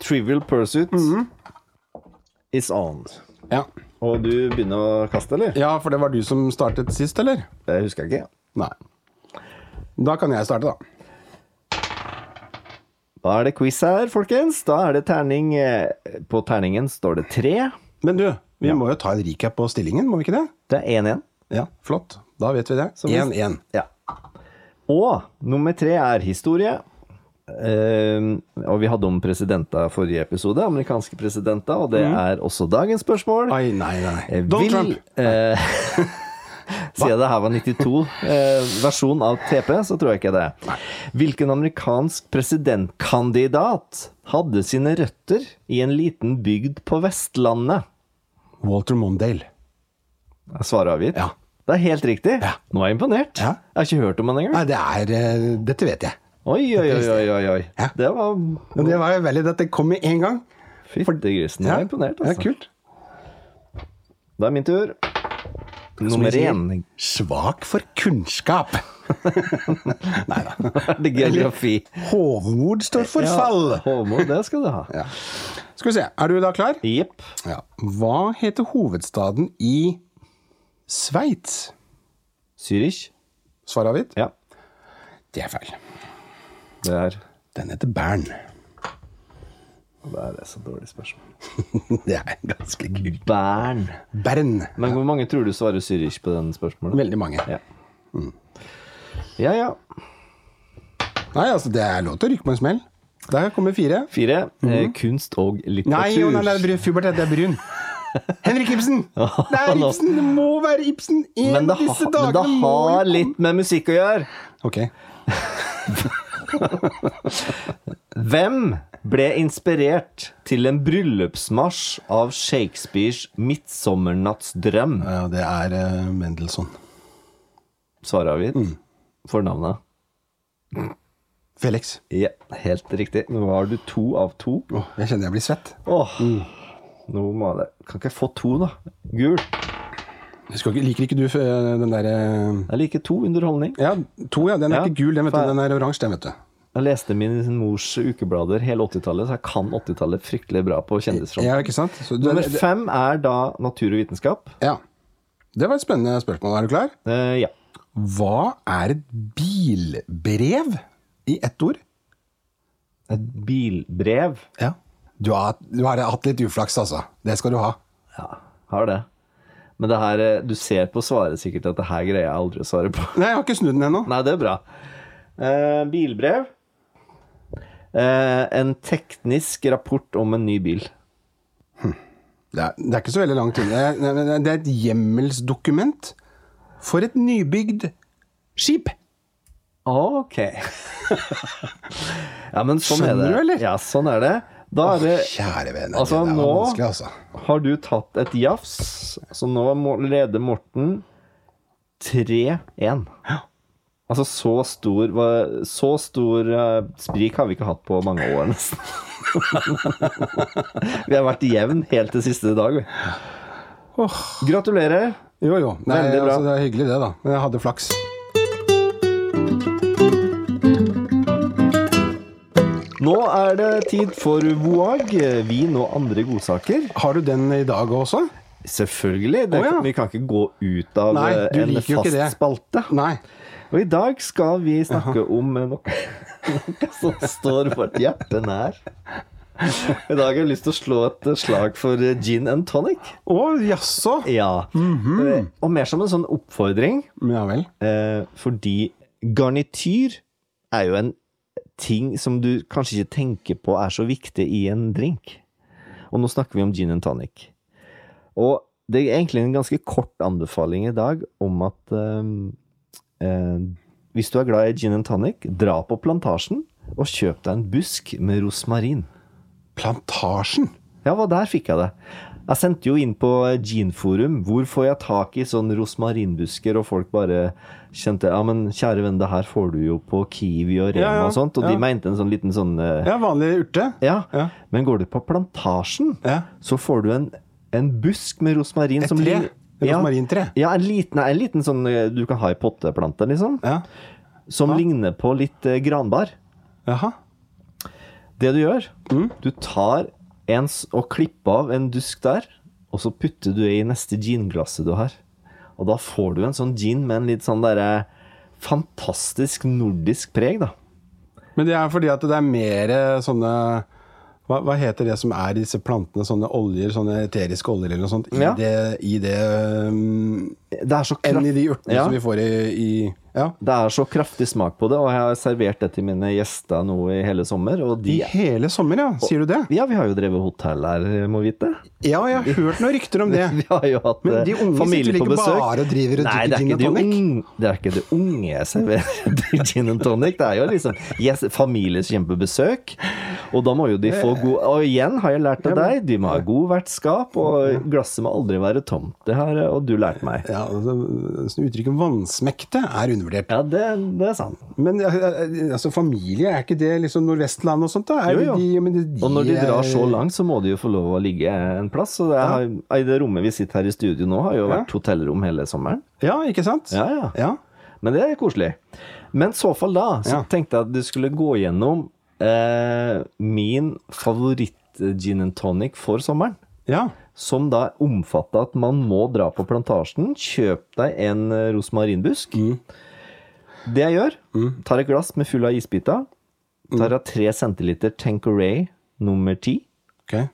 [SPEAKER 2] Trivial pursuit is on.
[SPEAKER 1] Ja.
[SPEAKER 2] Og du begynner å kaste, eller?
[SPEAKER 1] ja, for det var du som startet sist, eller?
[SPEAKER 2] Det husker jeg ikke.
[SPEAKER 1] Nei. Da kan jeg starte, da.
[SPEAKER 2] Da er det quiz her, folkens. Da er det terning eh, På terningen står det tre.
[SPEAKER 1] Men du, vi må jo ta en recap på stillingen, må vi ikke det?
[SPEAKER 2] Det er 1-1.
[SPEAKER 1] Ja, Flott. Da vet vi det.
[SPEAKER 2] vi-
[SPEAKER 1] 1-1.
[SPEAKER 2] Ja. Og nummer tre er historie. Eh, og vi hadde om presidenter forrige episode, amerikanske presidenter, og det er også dagens spørsmål.
[SPEAKER 1] Ai, nei, nei.
[SPEAKER 2] Eh,
[SPEAKER 1] Mm. Donald
[SPEAKER 2] vil-
[SPEAKER 1] Trump.
[SPEAKER 2] eh, Siden det her var 92 eh, versjon av TP, så tror jeg ikke det. Hvilken amerikansk presidentkandidat hadde sine røtter i en liten bygd på Vestlandet?
[SPEAKER 1] Walter Mondale.
[SPEAKER 2] Er Svaret avgitt?
[SPEAKER 1] Ja.
[SPEAKER 2] Det er helt riktig.
[SPEAKER 1] Ja.
[SPEAKER 2] Nå er jeg imponert.
[SPEAKER 1] Ja.
[SPEAKER 2] Jeg har ikke hørt om han engang.
[SPEAKER 1] Nei, det er eh, Dette vet jeg.
[SPEAKER 2] Oi, oi, oi, oi, oi, oi.
[SPEAKER 1] Ja.
[SPEAKER 2] Det var
[SPEAKER 1] Men det var jo veldig at det kom med en gang.
[SPEAKER 2] Fyttegrisen. Jeg er imponert,
[SPEAKER 1] Ja,
[SPEAKER 2] altså.
[SPEAKER 1] kult.
[SPEAKER 2] Da er min tur. Nummer
[SPEAKER 1] sier.
[SPEAKER 2] én.
[SPEAKER 1] Svak for kunnskap. Nei da.
[SPEAKER 2] Er det geografi?
[SPEAKER 1] Hovmod står for fall.
[SPEAKER 2] Håmo, det skal du ha.
[SPEAKER 1] Ja. Skal vi se, er du da klar?
[SPEAKER 2] Jepp.
[SPEAKER 1] Ja. Hva heter hovedstaden i Sveits?
[SPEAKER 2] Zürich.
[SPEAKER 1] Svaret avgitt?
[SPEAKER 2] Ja,
[SPEAKER 1] Det er feil.
[SPEAKER 2] det er
[SPEAKER 1] Den heter Bern.
[SPEAKER 2] Det er så dårlig spørsmål.
[SPEAKER 1] Det er ganske kult.
[SPEAKER 2] Bern.
[SPEAKER 1] Bern.
[SPEAKER 2] Men hvor mange tror du svarer Zürich på den spørsmålet?
[SPEAKER 1] Veldig mange.
[SPEAKER 2] Ja.
[SPEAKER 1] Mm.
[SPEAKER 2] Ja, ja.
[SPEAKER 1] Nei, altså, det er lov til å rykke på en smell. Der kommer fire.
[SPEAKER 2] Fire. eh, kunst og
[SPEAKER 1] Mhm.
[SPEAKER 2] litteratur.
[SPEAKER 1] Nei, jo, nei, det er Bru- Fubert, det er Brun. Henrik Ibsen! Det er Ibsen! Det må være Ibsen! En
[SPEAKER 2] men
[SPEAKER 1] av
[SPEAKER 2] det, ha,
[SPEAKER 1] disse
[SPEAKER 2] men det
[SPEAKER 1] dagene må
[SPEAKER 2] har
[SPEAKER 1] jo-
[SPEAKER 2] litt med musikk å gjøre.
[SPEAKER 1] Ok.
[SPEAKER 2] Hvem ble inspirert til en bryllupsmarsj av Shakespeares 'Midtsommernattsdrøm'?
[SPEAKER 1] Ja, det er eh, Mendelssohn.
[SPEAKER 2] Svaret avgitt. Fornavnet.
[SPEAKER 1] Felix.
[SPEAKER 2] Ja, helt riktig. Nå har du to av to.
[SPEAKER 1] Åh, jeg kjenner jeg blir svett.
[SPEAKER 2] Åh, nå må jeg Kan ikke jeg få to, da? Gul.
[SPEAKER 1] Jeg skal ikke, liker ikke du eh, den derre
[SPEAKER 2] Jeg liker to underholdning.
[SPEAKER 1] Ja, to, ja. Den er
[SPEAKER 2] Ja.
[SPEAKER 1] ikke gul, den, vet du.
[SPEAKER 2] Faen.
[SPEAKER 1] Den er oransje, den, vet du.
[SPEAKER 2] Jeg leste min mors ukeblader hele 80-tallet, så jeg kan 80-tallet fryktelig bra på kjendisfront.
[SPEAKER 1] Ja, ikke sant? Så du-
[SPEAKER 2] Nummer
[SPEAKER 1] det- det-
[SPEAKER 2] fem er da natur og vitenskap.
[SPEAKER 1] ja. Det var et spennende spørsmål. Er du klar?
[SPEAKER 2] Eh, ja.
[SPEAKER 1] Hva er et bilbrev i ett ord?
[SPEAKER 2] Et bilbrev.
[SPEAKER 1] Ja. Du har, du har hatt litt uflaks, altså. Det skal du ha.
[SPEAKER 2] Ja, har det. Men det her, eh, du ser på svaret sikkert at det her greier jeg aldri å svare på.
[SPEAKER 1] Nei, jeg har ikke snudd den ennå.
[SPEAKER 2] Nei, det er bra. Eh, bilbrev. Eh, en teknisk rapport om en ny bil.
[SPEAKER 1] Det er, det er ikke så veldig langt unna. Det er- det er- Det er et hjemmelsdokument for et nybygd skip.
[SPEAKER 2] OK. ja, men sånn er det.
[SPEAKER 1] Skjønner du, eller?
[SPEAKER 2] Ja, sånn er det. Da er det
[SPEAKER 1] Kjære vene,
[SPEAKER 2] Altså,
[SPEAKER 1] det er
[SPEAKER 2] nå-
[SPEAKER 1] vanskelig, altså.
[SPEAKER 2] Har du tatt et jafs, så nå må- leder Morten 3-1. Altså, så stor, var- så stor eh, sprik har vi ikke hatt på mange år, nesten. vi har vært jevn helt til siste dag, vi. Gratulerer.
[SPEAKER 1] Jo, jo. Nei,
[SPEAKER 2] Veldig bra.
[SPEAKER 1] altså, det er hyggelig, det, da. Men jeg hadde flaks.
[SPEAKER 2] Nå er det tid for Voag, vin og andre godsaker.
[SPEAKER 1] Har du den i dag også?
[SPEAKER 2] Selvfølgelig. Det,
[SPEAKER 1] Å, ja.
[SPEAKER 2] Vi kan ikke gå ut av
[SPEAKER 1] Nei,
[SPEAKER 2] eh,
[SPEAKER 1] du
[SPEAKER 2] en
[SPEAKER 1] liker jo ikke
[SPEAKER 2] fast
[SPEAKER 1] det.
[SPEAKER 2] spalte.
[SPEAKER 1] Nei.
[SPEAKER 2] Og i dag skal vi snakke om eh, noe, noe som står vårt hjerte nær. I dag har jeg lyst til å slå et eh, slag for eh, gin and tonic.
[SPEAKER 1] Å, jaså?
[SPEAKER 2] Ja. Eh, Og mer som en sånn oppfordring,
[SPEAKER 1] Mhm. Ja vel.
[SPEAKER 2] eh, fordi garnityr er jo en ting som du kanskje ikke tenker på er så viktig i en drink. Og nå snakker vi om gin and tonic. Og det er egentlig en ganske kort anbefaling i dag om at ehm, eh, hvis du er glad i gin and tonic, dra på plantasjen og kjøp deg en busk med rosmarin.
[SPEAKER 1] Plantasjen?
[SPEAKER 2] Ja, hva der fikk jeg det. Jeg sendte jo inn på Genforum. Hvor får jeg tak i sånn rosmarinbusker? Og folk bare kjente Ja, men kjære venn, det her får du jo på Kiwi og Rema
[SPEAKER 1] Ja, ja,
[SPEAKER 2] og sånt. Og
[SPEAKER 1] ja.
[SPEAKER 2] de mente en sånn liten sånn eh,
[SPEAKER 1] Ja, vanlig urte?
[SPEAKER 2] ja.
[SPEAKER 1] Ja.
[SPEAKER 2] Men går du på Plantasjen,
[SPEAKER 1] Ja.
[SPEAKER 2] så får du en, en busk med rosmarin
[SPEAKER 1] Et
[SPEAKER 2] som
[SPEAKER 1] tre?
[SPEAKER 2] ligner-
[SPEAKER 1] Rosmarintre?
[SPEAKER 2] Ja, ja en, liten, en liten sånn eh, du kan ha i potteplanta, liksom.
[SPEAKER 1] Ja.
[SPEAKER 2] Som ligner på litt eh, granbar.
[SPEAKER 1] Jaha.
[SPEAKER 2] Det du gjør, du tar en s- og klipper av en dusk der, og så putter du det i neste ginglasset du har. Og da får du en sånn gin med en litt sånn derre fantastisk nordisk preg, da.
[SPEAKER 1] Men det er fordi at det er mer sånne hva, hva heter det som er i disse plantene? Sånne oljer, sånne eteriske oljer eller noe sånt? I
[SPEAKER 2] Ja.
[SPEAKER 1] det, i det um,
[SPEAKER 2] Det er så,
[SPEAKER 1] Enn
[SPEAKER 2] kraft,
[SPEAKER 1] i de urtene
[SPEAKER 2] Ja.
[SPEAKER 1] som vi får i, i Ja.
[SPEAKER 2] det er så kraftig smak på det, og jeg har servert det til mine gjester nå i hele sommer, og
[SPEAKER 1] I
[SPEAKER 2] de
[SPEAKER 1] hele sommer, ja. Sier du det?
[SPEAKER 2] Ja, vi har jo drevet hotell her, må vite.
[SPEAKER 1] Ja, jeg har hørt noen rykter om det.
[SPEAKER 2] Vi har jo hatt
[SPEAKER 1] Men
[SPEAKER 2] eh,
[SPEAKER 1] de unge
[SPEAKER 2] familie
[SPEAKER 1] sitter vel ikke
[SPEAKER 2] på besøk.
[SPEAKER 1] bare og driver og
[SPEAKER 2] Nei,
[SPEAKER 1] drikker
[SPEAKER 2] det er
[SPEAKER 1] gin
[SPEAKER 2] ikke
[SPEAKER 1] og
[SPEAKER 2] de
[SPEAKER 1] tonic?
[SPEAKER 2] unge- Det er ikke det unge jeg serverer til gin and tonic. Det er jo liksom yes, familie som kommer på besøk, og da må jo de
[SPEAKER 1] Eh.
[SPEAKER 2] få god Og igjen har jeg lært av deg, de må ha god vertskap, og glasset må aldri være tomt. Det har eh, og du lærte meg.
[SPEAKER 1] Ja, altså, sånn Uttrykket 'vannsmekte' er undervurdert.
[SPEAKER 2] Ja, det, det er sant.
[SPEAKER 1] Men eh, eh, altså, familie, er ikke det liksom Nordvestland og sånt? da? Er
[SPEAKER 2] Jo,
[SPEAKER 1] det
[SPEAKER 2] jo.
[SPEAKER 1] De, men de,
[SPEAKER 2] Og når de
[SPEAKER 1] er-
[SPEAKER 2] drar så langt, så må de jo få lov å ligge en plass. Og det har, i det rommet vi sitter her i studio nå, har jo vært hotellrom hele sommeren.
[SPEAKER 1] Ja, ikke sant?
[SPEAKER 2] Ja, ja.
[SPEAKER 1] ja.
[SPEAKER 2] Men det er koselig. Men i så fall da, så
[SPEAKER 1] Ja.
[SPEAKER 2] tenkte jeg at du skulle gå gjennom eh, min favoritt-gin and tonic for sommeren.
[SPEAKER 1] ja.
[SPEAKER 2] Som da omfatter at man må dra på plantasjen, kjøpe deg en eh, rosmarinbusk.
[SPEAKER 1] Mm.
[SPEAKER 2] Det jeg gjør, tar et glass med full av isbiter,
[SPEAKER 1] Mm.
[SPEAKER 2] tar av 3 centiliter Tanqueray nummer 10,
[SPEAKER 1] Ok.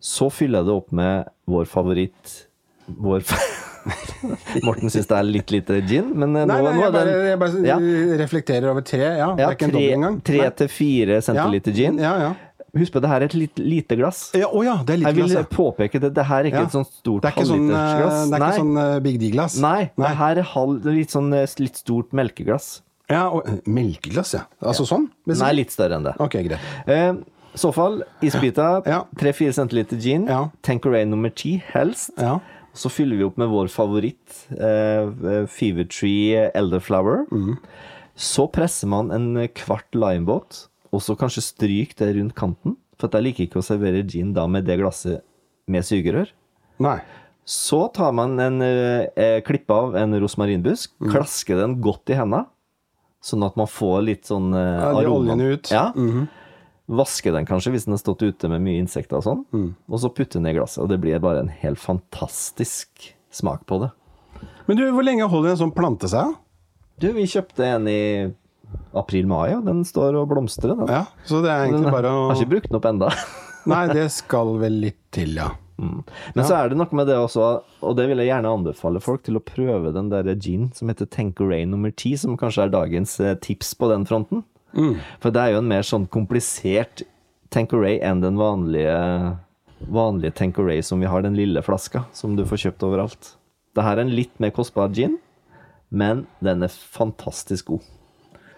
[SPEAKER 2] så fyller jeg det opp med vår favoritt, vår fa Morten syns det er litt lite gin, men eh,
[SPEAKER 1] Nei,
[SPEAKER 2] nå,
[SPEAKER 1] nei,
[SPEAKER 2] nå
[SPEAKER 1] jeg
[SPEAKER 2] er den
[SPEAKER 1] bare, jeg bare
[SPEAKER 2] Ja.
[SPEAKER 1] reflekterer over tre. Ja, det
[SPEAKER 2] Ja,
[SPEAKER 1] er ikke en dobbel
[SPEAKER 2] tre-
[SPEAKER 1] engang.
[SPEAKER 2] tre
[SPEAKER 1] Nei.
[SPEAKER 2] til fire
[SPEAKER 1] Ja.
[SPEAKER 2] centiliter gin.
[SPEAKER 1] Ja, ja.
[SPEAKER 2] Husk på, det her er et lite, lite glass.
[SPEAKER 1] Ja, Å ja, det er lite
[SPEAKER 2] Jeg vil
[SPEAKER 1] glass, ja.
[SPEAKER 2] påpeke det. Det her er ikke
[SPEAKER 1] Ja.
[SPEAKER 2] et sånt stort
[SPEAKER 1] Det er ikke sånn, eh,
[SPEAKER 2] halvlitersglass.
[SPEAKER 1] det er
[SPEAKER 2] Nei.
[SPEAKER 1] ikke sånn eh, Big D-glass.
[SPEAKER 2] Nei, det her er halv, det er litt sånn eh, litt stort melkeglass.
[SPEAKER 1] Ja, og, eh, melkeglass, ja. Altså sånn? Hvis-
[SPEAKER 2] Nei, litt større enn det.
[SPEAKER 1] Ok, greit.
[SPEAKER 2] Eh, I så fall, isbita,
[SPEAKER 1] Ja.
[SPEAKER 2] 3-4 centiliter gin,
[SPEAKER 1] Ja.
[SPEAKER 2] Tanqueray nummer 10 helst.
[SPEAKER 1] Ja.
[SPEAKER 2] Så fyller vi opp med vår favoritt, eh, Fever Tree Elderflower. Så presser man en kvart limebåt, og så kanskje stryk det rundt kanten. For at jeg liker ikke å servere gin da med det glasset med sugerør.
[SPEAKER 1] Nei.
[SPEAKER 2] Så tar man en eh, eh, klippe av en rosmarinbusk,
[SPEAKER 1] Mm.
[SPEAKER 2] klasker den godt i henda, sånn at man får litt sånn eh,
[SPEAKER 1] Ja, de
[SPEAKER 2] aroma.
[SPEAKER 1] oljene ut. Mhm.
[SPEAKER 2] Ja. Vaske den kanskje, hvis den har stått ute med mye insekter og sånn.
[SPEAKER 1] Mm.
[SPEAKER 2] Og så putte den i glasset, og det blir bare en helt fantastisk smak på det.
[SPEAKER 1] Men du, hvor lenge holder en sånn plante seg? da?
[SPEAKER 2] Du, vi kjøpte en i april-mai, og den står og blomstrer. Den.
[SPEAKER 1] Ja, så det er egentlig
[SPEAKER 2] den
[SPEAKER 1] bare å
[SPEAKER 2] Har ikke brukt den opp enda.
[SPEAKER 1] Nei, det skal vel litt til, ja.
[SPEAKER 2] Men så er det noe med det også, og det vil jeg gjerne anbefale folk til å prøve den der gin som heter Tanqueray nummer 10, som kanskje er dagens eh, tips på den fronten.
[SPEAKER 1] Mm.
[SPEAKER 2] For det er jo en mer sånn komplisert Tanqueray enn den vanlige, vanlige Tanqueray som vi har, den lille flaska som du får kjøpt overalt. Det her er en litt mer kostbar gin, men den er fantastisk god.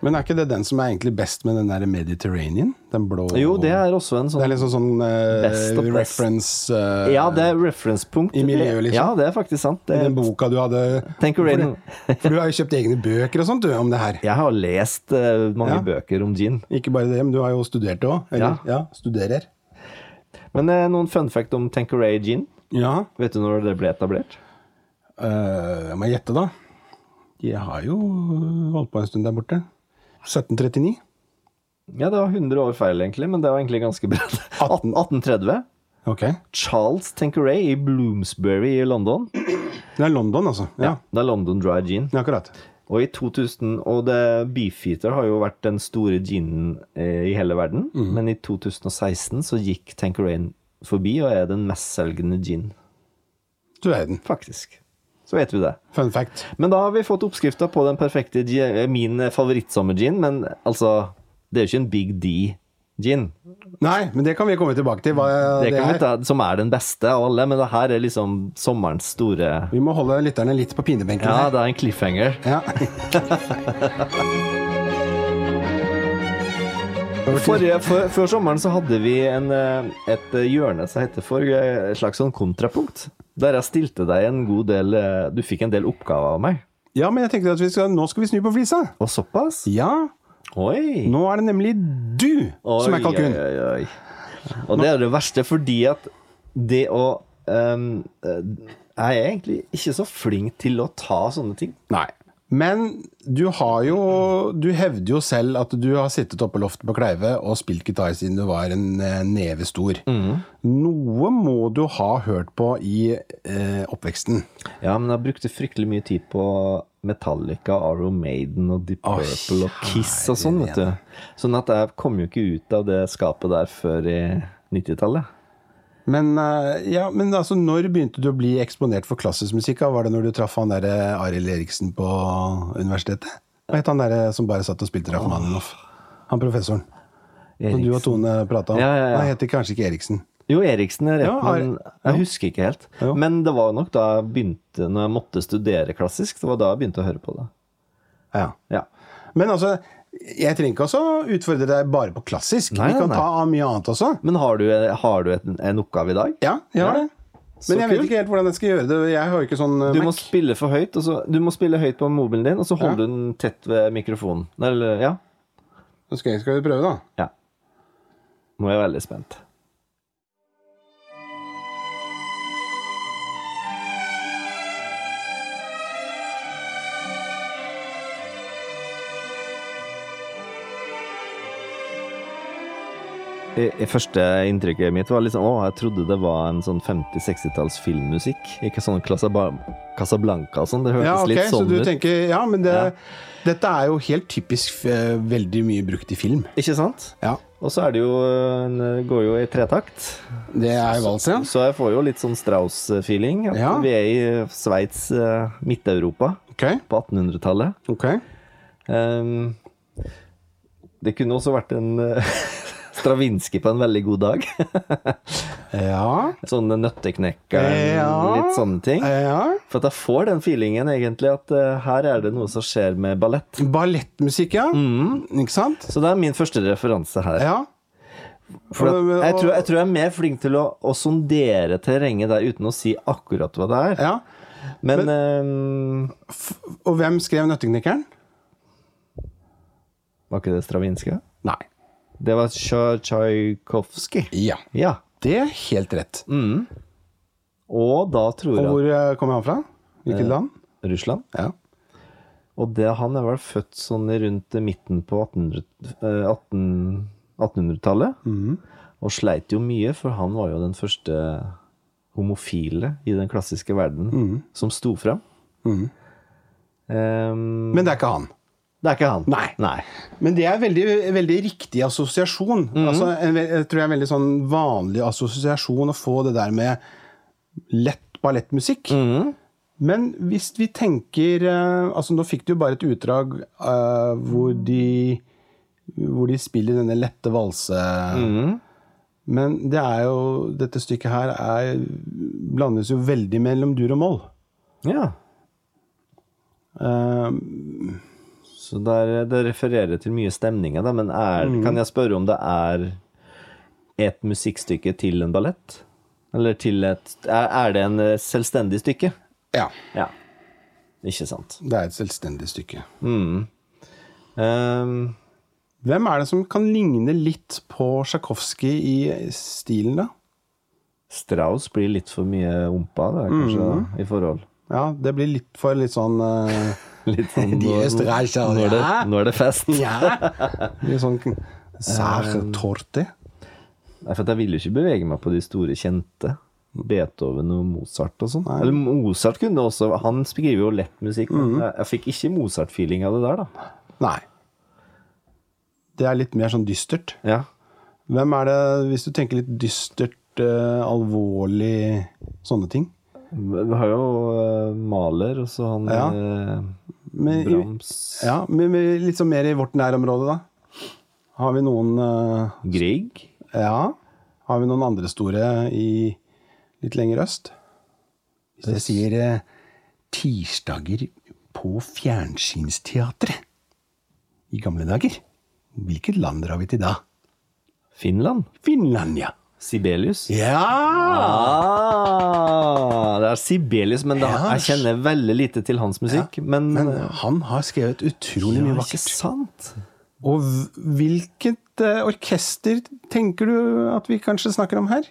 [SPEAKER 1] Men er ikke det den som er egentlig best med den der Mediterranean? Den blå
[SPEAKER 2] Jo, det er også en
[SPEAKER 1] Det er
[SPEAKER 2] sånn
[SPEAKER 1] liksom sånn eh,
[SPEAKER 2] Best of best.
[SPEAKER 1] reference eh,
[SPEAKER 2] Ja, eh, det er referencepunkt.
[SPEAKER 1] I miljøet, liksom.
[SPEAKER 2] Ja, det er faktisk sant. Det,
[SPEAKER 1] i den boka du hadde
[SPEAKER 2] Thank you, Raiden.
[SPEAKER 1] For du har jo kjøpt egne bøker og sånt du, om det her.
[SPEAKER 2] Jeg har lest eh, mange
[SPEAKER 1] Ja.
[SPEAKER 2] bøker om gin.
[SPEAKER 1] Ikke bare det, men du har jo studert det òg. Eller?
[SPEAKER 2] Ja.
[SPEAKER 1] Ja. Studerer.
[SPEAKER 2] Men eh, noen fun fact om Tanqueray gin?
[SPEAKER 1] Ja.
[SPEAKER 2] Vet du når det ble etablert?
[SPEAKER 1] eh, må jeg gjette, da? De har jo holdt på en stund der borte. 1739.
[SPEAKER 2] Ja, det var 100 år feil, egentlig, men det var egentlig ganske bra.
[SPEAKER 1] 18.
[SPEAKER 2] 1830.
[SPEAKER 1] Ok.
[SPEAKER 2] Charles Tanqueray i Bloomsbury i London.
[SPEAKER 1] Det er London, altså. Ja,
[SPEAKER 2] Det er London Dry Gin.
[SPEAKER 1] ja akkurat.
[SPEAKER 2] Og i 2000, og det, Beefeater har jo vært den store ginen eh, i hele verden, men i 2016 så gikk Tanqueray forbi og er den mestselgende gin,
[SPEAKER 1] Du er den.
[SPEAKER 2] faktisk. Så vet vi det.
[SPEAKER 1] Fun fact.
[SPEAKER 2] Men da har vi fått oppskrifta på den perfekte gin, eh, min favorittsommergin, men altså Det er jo ikke en Big D-gin.
[SPEAKER 1] Nei, men det kan vi komme tilbake til. Hva
[SPEAKER 2] Det
[SPEAKER 1] det,
[SPEAKER 2] kan vi
[SPEAKER 1] er.
[SPEAKER 2] ta, som er den beste av alle, men det her er liksom sommerens store
[SPEAKER 1] Vi må holde lytterne litt på pinebenken
[SPEAKER 2] Ja,
[SPEAKER 1] her.
[SPEAKER 2] det er en cliffhanger.
[SPEAKER 1] Ja. Over til-
[SPEAKER 2] Forrige, for, før sommeren så hadde vi en, eh, et hjørne som heter for eh, et slags sånn kontrapunkt. Der jeg stilte deg en god del eh, Du fikk en del oppgaver av meg.
[SPEAKER 1] ja, men jeg tenkte at vi skal, nå skal vi snu på flisa.
[SPEAKER 2] Og såpass?
[SPEAKER 1] Ja,
[SPEAKER 2] Oi!
[SPEAKER 1] nå er det nemlig du som er kalkun.
[SPEAKER 2] Oi, oi, oi. Og det er det verste, fordi at det å ehm, eh, Jeg er egentlig ikke så flink til å ta sånne ting.
[SPEAKER 1] Nei. Men du har jo Du hevder jo selv at du har sittet oppe på loftet på Kleive og spilt gitar siden du var en eh, neve stor.
[SPEAKER 2] Mhm.
[SPEAKER 1] Noe må du ha hørt på i eh, oppveksten.
[SPEAKER 2] Ja, men jeg brukte fryktelig mye tid på Metallica, Arrow Maiden og Deep
[SPEAKER 1] Å,
[SPEAKER 2] Purple og Kiss og sånn, vet du. Sånn at jeg kom jo ikke ut av det skapet der før i 90-tallet.
[SPEAKER 1] Men, eh, ja, men altså, når begynte du å bli eksponert for klassisk musikk? da? Var det når du traff han derre Arild Eriksen på universitetet? Hva het han derre som bare satt og spilte Rachmaninoff? Han professoren. Som du og
[SPEAKER 2] Eriksen.
[SPEAKER 1] Tone prata om.
[SPEAKER 2] Ja, ja, ja.
[SPEAKER 1] Han heter kanskje ikke Eriksen.
[SPEAKER 2] Jo, Eriksen er rett,
[SPEAKER 1] Ja, Ari-
[SPEAKER 2] men jeg husker ikke helt.
[SPEAKER 1] Jo.
[SPEAKER 2] Men det var nok da jeg begynte, når jeg måtte studere klassisk, det var da jeg begynte å høre på det.
[SPEAKER 1] Ja.
[SPEAKER 2] Ja.
[SPEAKER 1] Men altså, jeg trenger ikke også utfordre deg bare på klassisk.
[SPEAKER 2] Nei,
[SPEAKER 1] vi kan
[SPEAKER 2] nei.
[SPEAKER 1] ta mye annet også.
[SPEAKER 2] Men har du, har du et, en oppgave i dag?
[SPEAKER 1] Ja, jeg har
[SPEAKER 2] Ja.
[SPEAKER 1] det.
[SPEAKER 2] Så
[SPEAKER 1] Men jeg vet
[SPEAKER 2] kult.
[SPEAKER 1] ikke helt hvordan jeg skal gjøre det. Jeg har jo ikke sånn eh,
[SPEAKER 2] Du
[SPEAKER 1] Mac.
[SPEAKER 2] må spille for høyt, og så, du må spille høyt på mobilen din, og så holder du den tett ved mikrofonen. Eller, ja.
[SPEAKER 1] Nå Skal, jeg- skal vi prøve, da?
[SPEAKER 2] ja. Nå er jeg veldig spent. I- i Første inntrykket mitt var liksom Å, jeg trodde det var en sånn 50-60-talls filmmusikk. Ikke sånn Casaba- Casablanca og sånn. Det hørtes
[SPEAKER 1] Ja, ok,
[SPEAKER 2] litt
[SPEAKER 1] så
[SPEAKER 2] sånn
[SPEAKER 1] du
[SPEAKER 2] ut.
[SPEAKER 1] tenker Ja, men det,
[SPEAKER 2] Ja.
[SPEAKER 1] dette er jo helt typisk eh, veldig mye brukt i film.
[SPEAKER 2] Ikke sant?
[SPEAKER 1] Ja.
[SPEAKER 2] Og så er det jo eh, en- går jo i tretakt.
[SPEAKER 1] Det er jo vals, ja.
[SPEAKER 2] Så jeg får jo litt sånn Strauss-feeling. At
[SPEAKER 1] Ja.
[SPEAKER 2] Vi er i Sveits, eh, Midt-Europa,
[SPEAKER 1] Ok.
[SPEAKER 2] på 1800-tallet.
[SPEAKER 1] ok.
[SPEAKER 2] Ehm, det kunne også vært en eh, Stravinskij på en veldig god dag.
[SPEAKER 1] Ja.
[SPEAKER 2] Sånne nøtteknekkeren,
[SPEAKER 1] Ja.
[SPEAKER 2] litt sånne ting.
[SPEAKER 1] ja.
[SPEAKER 2] For at jeg får den feelingen egentlig at eh, her er det noe som skjer med ballett.
[SPEAKER 1] Ballettmusikk, ja.
[SPEAKER 2] Mm.
[SPEAKER 1] Ikke sant?
[SPEAKER 2] Så det er min første referanse her.
[SPEAKER 1] Ja.
[SPEAKER 2] For at,
[SPEAKER 1] Og-
[SPEAKER 2] jeg, tror, jeg tror jeg er mer flink til å, å sondere terrenget der uten å si akkurat hva det er.
[SPEAKER 1] ja.
[SPEAKER 2] Men, ehm,
[SPEAKER 1] F- Og hvem skrev 'Nøtteknekkeren'?
[SPEAKER 2] Var ikke det Stravinskij?
[SPEAKER 1] Nei.
[SPEAKER 2] Det var Tsja- Tsjajkovskij.
[SPEAKER 1] Ja.
[SPEAKER 2] Ja.
[SPEAKER 1] Det er helt rett.
[SPEAKER 2] Og da tror
[SPEAKER 1] Og
[SPEAKER 2] jeg
[SPEAKER 1] hvor eh, kommer han fra?
[SPEAKER 2] Eh,
[SPEAKER 1] Hvilket land?
[SPEAKER 2] at Russland.
[SPEAKER 1] Ja.
[SPEAKER 2] Og det, han er vel født sånn i rundt midten på 1800 eh, 18 1800-tallet.
[SPEAKER 1] Mhm.
[SPEAKER 2] Og sleit jo mye, for han var jo den første homofile i den klassiske verden
[SPEAKER 1] Mhm.
[SPEAKER 2] som sto fram. Ehm,
[SPEAKER 1] Men det er ikke han.
[SPEAKER 2] det er ikke han.
[SPEAKER 1] Nei.
[SPEAKER 2] Nei.
[SPEAKER 1] Men det er veldig, veldig riktig assosiasjon. altså, en, ve- jeg tror det er en veldig sånn vanlig assosiasjon å få det der med lett ballettmusikk. Men hvis vi tenker eh, altså Nå fikk du jo bare et utdrag eh, hvor, de, hvor de spiller denne lette valse... Mhm. Men det er jo, dette stykket her er, blandes jo veldig mellom dur og moll.
[SPEAKER 2] Ja.
[SPEAKER 1] Eh,
[SPEAKER 2] Så der, det refererer til mye stemninger, da. Men er,
[SPEAKER 1] Mm.
[SPEAKER 2] kan jeg spørre om det er et musikkstykke til en ballett? Eller til et Er, er det en eh, selvstendig stykke?
[SPEAKER 1] Ja.
[SPEAKER 2] Ja. Ikke sant.
[SPEAKER 1] Det er et selvstendig stykke.
[SPEAKER 2] Ehm,
[SPEAKER 1] Hvem er det som kan ligne litt på Tsjajkovskij i stilen, da?
[SPEAKER 2] Strauss blir litt for mye ompa, da,
[SPEAKER 1] Mm.
[SPEAKER 2] kanskje, da, i forhold.
[SPEAKER 1] Ja, det blir litt for litt sånn eh,
[SPEAKER 2] Litt sånn
[SPEAKER 1] De
[SPEAKER 2] nå-
[SPEAKER 1] østerreicher,
[SPEAKER 2] nå, er det,
[SPEAKER 1] ja.
[SPEAKER 2] nå er det fest.
[SPEAKER 1] Litt sånn Um. særtorti.
[SPEAKER 2] Nei, for at jeg vil jo ikke bevege meg på de store kjente. Beethoven og Mozart og sånn. Eller Mozart kunne også Han skriver jo lett musikk,
[SPEAKER 1] Mm.
[SPEAKER 2] men jeg, jeg fikk ikke Mozart-feeling av det der, da.
[SPEAKER 1] Nei. Det er litt mer sånn dystert.
[SPEAKER 2] Ja.
[SPEAKER 1] Hvem er det, hvis du tenker litt dystert, eh, alvorlig sånne ting?
[SPEAKER 2] Vi har jo eh, Maler, og så han
[SPEAKER 1] Ja.
[SPEAKER 2] eh,
[SPEAKER 1] Men-
[SPEAKER 2] Brahms
[SPEAKER 1] Ja, men men litt sånn mer i vårt nærområde, da. Har vi noen eh,
[SPEAKER 2] Grieg.
[SPEAKER 1] Ja. Har vi noen andre store i litt lenger øst? Hvis jeg sier eh, 'Tirsdager på Fjernsynsteatret' i gamle dager, hvilket land drar vi til da?
[SPEAKER 2] Finland.
[SPEAKER 1] Finland, ja.
[SPEAKER 2] Sibelius.
[SPEAKER 1] Ja!
[SPEAKER 2] Ah, det er Sibelius, men da,
[SPEAKER 1] Ja.
[SPEAKER 2] jeg kjenner veldig lite til hans musikk. Men, eh,
[SPEAKER 1] Men han har skrevet utrolig mye
[SPEAKER 2] Ja,
[SPEAKER 1] vakkert.
[SPEAKER 2] Ikke sant?
[SPEAKER 1] Og v- hvilket eh, orkester tenker du at vi kanskje snakker om her?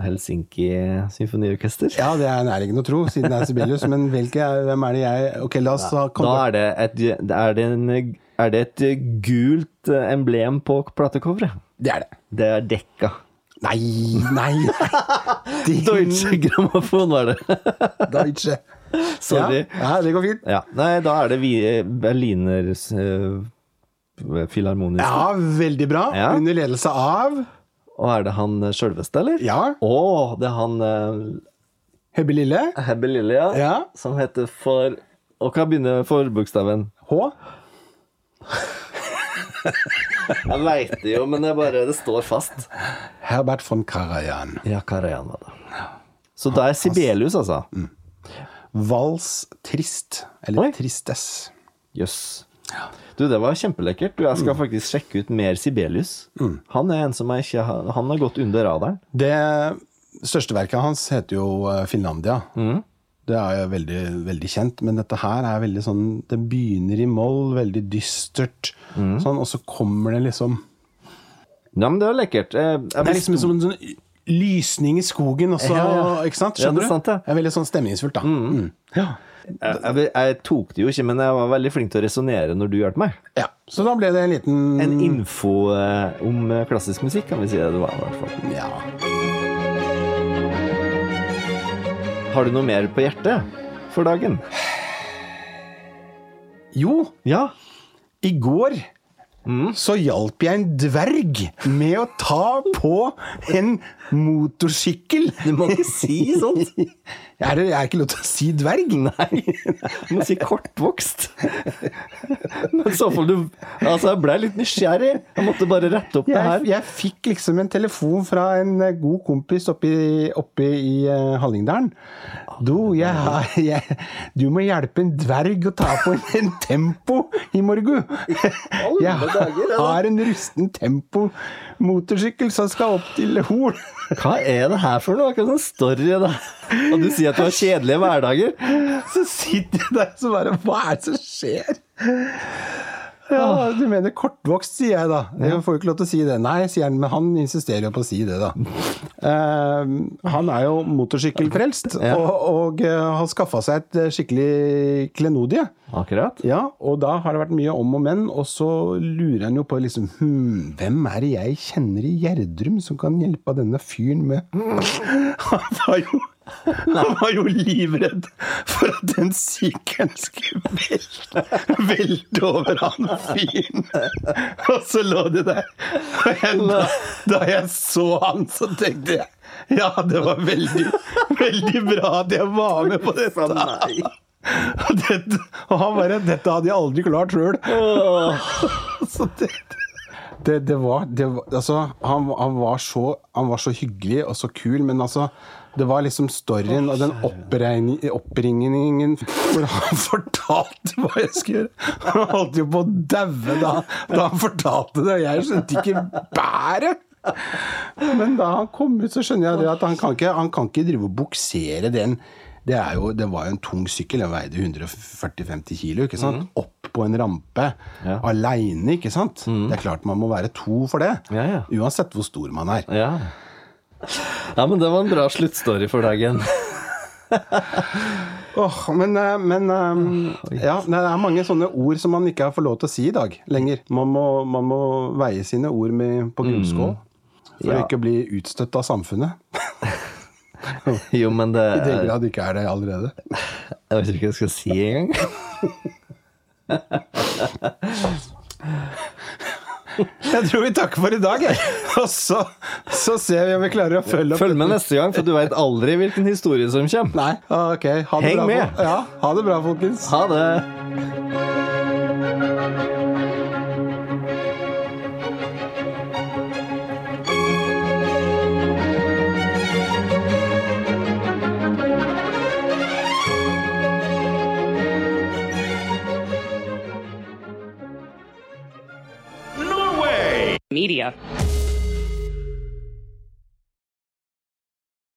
[SPEAKER 2] Helsinki Symfoniorkester.
[SPEAKER 1] Ja, det er nærliggende å tro, siden det er Sibelius. Men hvilke, er- hvem er det jeg Ok, la oss ha
[SPEAKER 2] Da er det et, er det en, er det et eh, gult emblem på platecoveret.
[SPEAKER 1] Det er det.
[SPEAKER 2] Det er dekka.
[SPEAKER 1] Nei, nei! Din
[SPEAKER 2] Deutsche Grammofon var det.
[SPEAKER 1] Deutsche.
[SPEAKER 2] Sorry.
[SPEAKER 1] Ja, ja, det går fint.
[SPEAKER 2] Ja. Nei, da er det vi, eh, Berliners uh, filharmoniske.
[SPEAKER 1] Ja, veldig bra.
[SPEAKER 2] Ja.
[SPEAKER 1] Under ledelse av
[SPEAKER 2] Og er det han eh, sjølveste, eller?
[SPEAKER 1] Ja,
[SPEAKER 2] Å, det er han uh,
[SPEAKER 1] Hebbe Lille.
[SPEAKER 2] Hebbe Lille, ja.
[SPEAKER 1] Ja.
[SPEAKER 2] Som heter for Og hva begynner forbokstaven?
[SPEAKER 1] H.
[SPEAKER 2] Jeg veit det jo, men det, er bare, det står fast.
[SPEAKER 1] Herbert von Karajan.
[SPEAKER 2] Ja, Karajan var det. Så da er Sibelius, altså.
[SPEAKER 1] Vals trist. Eller
[SPEAKER 2] Oi.
[SPEAKER 1] Tristess.
[SPEAKER 2] Jøss. Du, det var kjempelekkert. Du, jeg skal faktisk sjekke ut mer Sibelius. Han er en som jeg ikke har Han har gått under radaren.
[SPEAKER 1] Det største verket hans heter jo eh, Finlandia. Det er jo veldig, veldig kjent, men dette her er veldig sånn Det begynner i moll, veldig dystert, sånn, og så kommer det liksom
[SPEAKER 2] Ja, men det var lekkert. Eh, Jeg,
[SPEAKER 1] Det er
[SPEAKER 2] blir
[SPEAKER 1] liksom
[SPEAKER 2] stor-
[SPEAKER 1] som en sånn lysning i skogen, og så
[SPEAKER 2] Ja, ja.
[SPEAKER 1] Ikke sant?
[SPEAKER 2] Ja, det er
[SPEAKER 1] Skjønner
[SPEAKER 2] sant,
[SPEAKER 1] du?
[SPEAKER 2] ja.
[SPEAKER 1] Det er veldig sånn stemningsfullt, da. Mm. Ja.
[SPEAKER 2] jeg, jeg, jeg tok det jo ikke, men jeg var veldig flink til å resonnere når du hjalp meg.
[SPEAKER 1] ja. Så da ble det en liten
[SPEAKER 2] En info eh, om eh, klassisk musikk, kan vi si det det var. i hvert fall.
[SPEAKER 1] Ja.
[SPEAKER 2] Har du noe mer på hjertet for dagen?
[SPEAKER 1] Jo,
[SPEAKER 2] Ja.
[SPEAKER 1] i går
[SPEAKER 2] Mm.
[SPEAKER 1] så hjalp jeg en dverg med å ta på en motorsykkel.
[SPEAKER 2] Du må ikke si sånt.
[SPEAKER 1] Er det er ikke lov til å si dverg?
[SPEAKER 2] Nei, du må si kortvokst. Men i så fall du Altså, jeg blei litt nysgjerrig. Jeg måtte bare rette opp det
[SPEAKER 1] Jeg,
[SPEAKER 2] her.
[SPEAKER 1] jeg fikk liksom en telefon fra en eh, god kompis oppe i, oppe i eh, Hallingdalen. Du, jeg, har- jeg, du må hjelpe en dverg å ta på en, en tempo i morgen. Jeg
[SPEAKER 2] dager, ja.
[SPEAKER 1] har en rusten tempo-motorsykkel som skal opp til Hol.
[SPEAKER 2] Hva er det her for noe? Hva slags story er det her? Og du sier at du har kjedelige hverdager.
[SPEAKER 1] Så sitter jeg der og bare Hva er det som skjer? Ja, Du mener kortvokst, sier jeg da. Jeg får jo ikke lov til å si det. Nei, sier han, men han insisterer jo på å si det, da. Eh, han er jo motorsykkelfrelst,
[SPEAKER 2] Ja.
[SPEAKER 1] og, og eh, har skaffa seg et eh, skikkelig klenodie.
[SPEAKER 2] Akkurat.
[SPEAKER 1] Ja, og da har det vært mye om og men, og så lurer han jo på liksom hmm, Hvem er det jeg kjenner i Gjerdrum som kan hjelpe denne fyren med Han var jo han var jo livredd for at den sykkelen skulle velte, velte over han fyren. Og så lå de der. Og jeg, da, da jeg så han, så tenkte jeg ja, det var veldig, veldig bra at jeg var med på dette. Og, dette, og han bare Dette hadde jeg aldri klart sjøl.
[SPEAKER 2] Åh,
[SPEAKER 1] Så det, Det, det var, det var Altså, han, han, var så, han var så hyggelig og så kul, men altså det var liksom storyen og den oppregning- oppringningen hvor han fortalte hva jeg skulle gjøre. Han holdt jo på å daue da, da han fortalte det, og jeg skjønte ikke bæret! Men da han kom ut, så skjønner jeg det at han kan ikke, han kan ikke drive og buksere den. Det, er jo, det var jo en tung sykkel, den veide 140-50 kilo. Ikke sant? Opp på en rampe
[SPEAKER 2] Ja.
[SPEAKER 1] aleine, ikke sant? Det er klart man må være to for det.
[SPEAKER 2] Ja, ja.
[SPEAKER 1] Uansett hvor stor man er.
[SPEAKER 2] Ja. ja, men det var en bra sluttstory for dagen.
[SPEAKER 1] Åh, men eh, men eh, ja, det er mange sånne ord som man ikke får lov til å si i dag lenger. Man må, man må veie sine ord med, på gullskål. For
[SPEAKER 2] Ja.
[SPEAKER 1] å ikke bli utstøtt av samfunnet.
[SPEAKER 2] Jo, men det
[SPEAKER 1] I den
[SPEAKER 2] Jeg
[SPEAKER 1] grad ikke er det allerede.
[SPEAKER 2] vet ikke hva jeg skal si engang.
[SPEAKER 1] Jeg tror vi takker for i dag, jeg. Og så, så ser vi om vi klarer å følge opp.
[SPEAKER 2] Følg med neste gang, for du veit aldri hvilken historie som kommer.
[SPEAKER 1] Nei, Ah, ok. Ha det
[SPEAKER 2] Heng
[SPEAKER 1] bra,
[SPEAKER 2] med.
[SPEAKER 1] fol- Ja, ha det bra, folkens.
[SPEAKER 2] Ha det!
[SPEAKER 3] media.